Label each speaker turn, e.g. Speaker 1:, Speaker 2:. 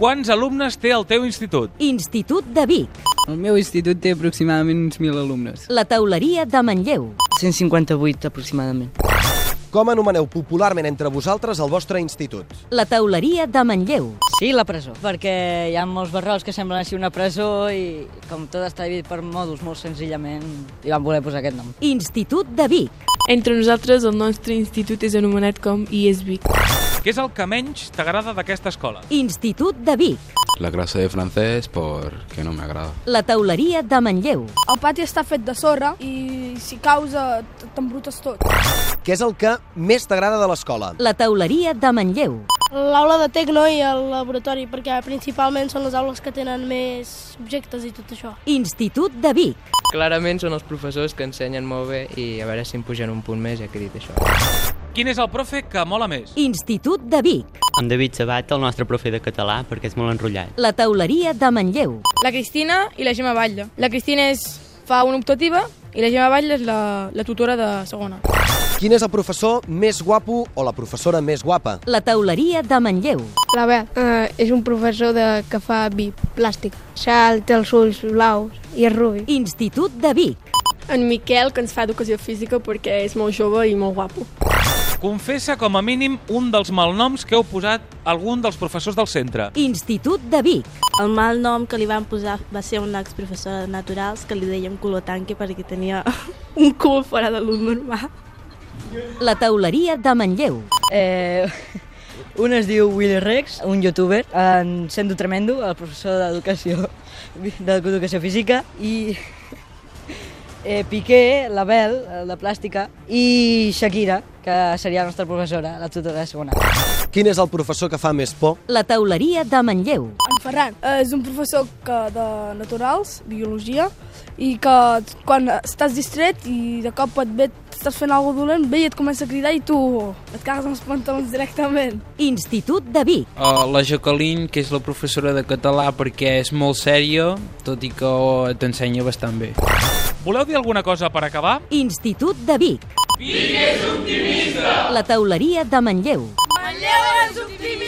Speaker 1: Quants alumnes té el teu institut?
Speaker 2: Institut de Vic,
Speaker 3: El meu institut té aproximadament uns 1.000 alumnes.
Speaker 2: la tauleria de Manlleu,
Speaker 4: 158 aproximadament.
Speaker 5: Com anomeneu popularment entre vosaltres el vostre institut?
Speaker 2: la tauleria de Manlleu,
Speaker 4: Sí, la presó, perquè hi ha molts barrols que semblen així una presó i com tot està dividit per mòduls, molt senzillament hi van voler posar aquest nom.
Speaker 2: Institut de Vic,
Speaker 6: Entre nosaltres, el nostre institut és anomenat com ISBIC.
Speaker 1: Què és el que menys t'agrada d'aquesta escola?
Speaker 2: Institut de Vic,
Speaker 7: La clase de francés porque no me agrada.
Speaker 2: la tauleria de Manlleu,
Speaker 8: El pati està fet de sorra i si causa t'embrutes tot.
Speaker 5: Què és el que més t'agrada de l'escola?
Speaker 2: la tauleria de Manlleu,
Speaker 8: L'aula de tecno i el laboratori, perquè principalment són les aules que tenen més objectes i tot això.
Speaker 2: Institut de Vic,
Speaker 9: Clarament són els professors que ensenyen molt bé i a veure si em pugen un punt més, ja que he dit això.
Speaker 1: Quin és el profe que mola més?
Speaker 2: Institut de Vic,
Speaker 10: En David Sabat, el nostre profe de català, perquè és molt enrotllat.
Speaker 2: la tauleria de Manlleu,
Speaker 6: La Cristina i la Gemma Batlle. La Cristina és, fa una optativa i la Gemma Batlle és la, la tutora de segona.
Speaker 5: Quin és el professor més guapo o la professora més guapa?
Speaker 2: la tauleria de Manlleu,
Speaker 6: La Bet eh, és un professor de, que fa VIP, plàstic.
Speaker 8: Xal té els ulls blaus i és rubi.
Speaker 2: Institut de Vic,
Speaker 6: En Miquel, que ens fa educació física perquè és molt jove i molt guapo.
Speaker 1: Confessa com a mínim un dels malnoms que heu posat a algun dels professors del centre.
Speaker 2: Institut de Vic,
Speaker 8: El mal nom que li van posar va ser una exprofessora de naturals que li deien color tanque perquè tenia un cul fora de l'un normal.
Speaker 2: la tauleria de Manlleu,
Speaker 4: Eh, un es diu Willy Rex, un youtuber, en Sendo Tremendo, el professor d'educació d'educació física, i eh, Piqué, la Bel, el de plàstica, i Shakira, que seria la nostra professora, la tutora de segona.
Speaker 5: Quin és el professor que fa més por?
Speaker 2: la tauleria de Manlleu,
Speaker 8: En Ferran és un professor que de naturals, biologia, i que quan estàs distret i de cop et ve, estàs fent alguna cosa dolent, ve i et comença a cridar i tu et cagues amb els pantalons directament.
Speaker 2: Institut de Vic,
Speaker 9: Uh, la Jacqueline, que és la professora de català perquè és molt sèria, tot i que oh, t'ensenya bastant bé.
Speaker 1: Voleu dir alguna cosa per acabar?
Speaker 2: Institut de Vic. Vic és optimista! La tauleria de Manlleu,
Speaker 8: Manlleu és optimista!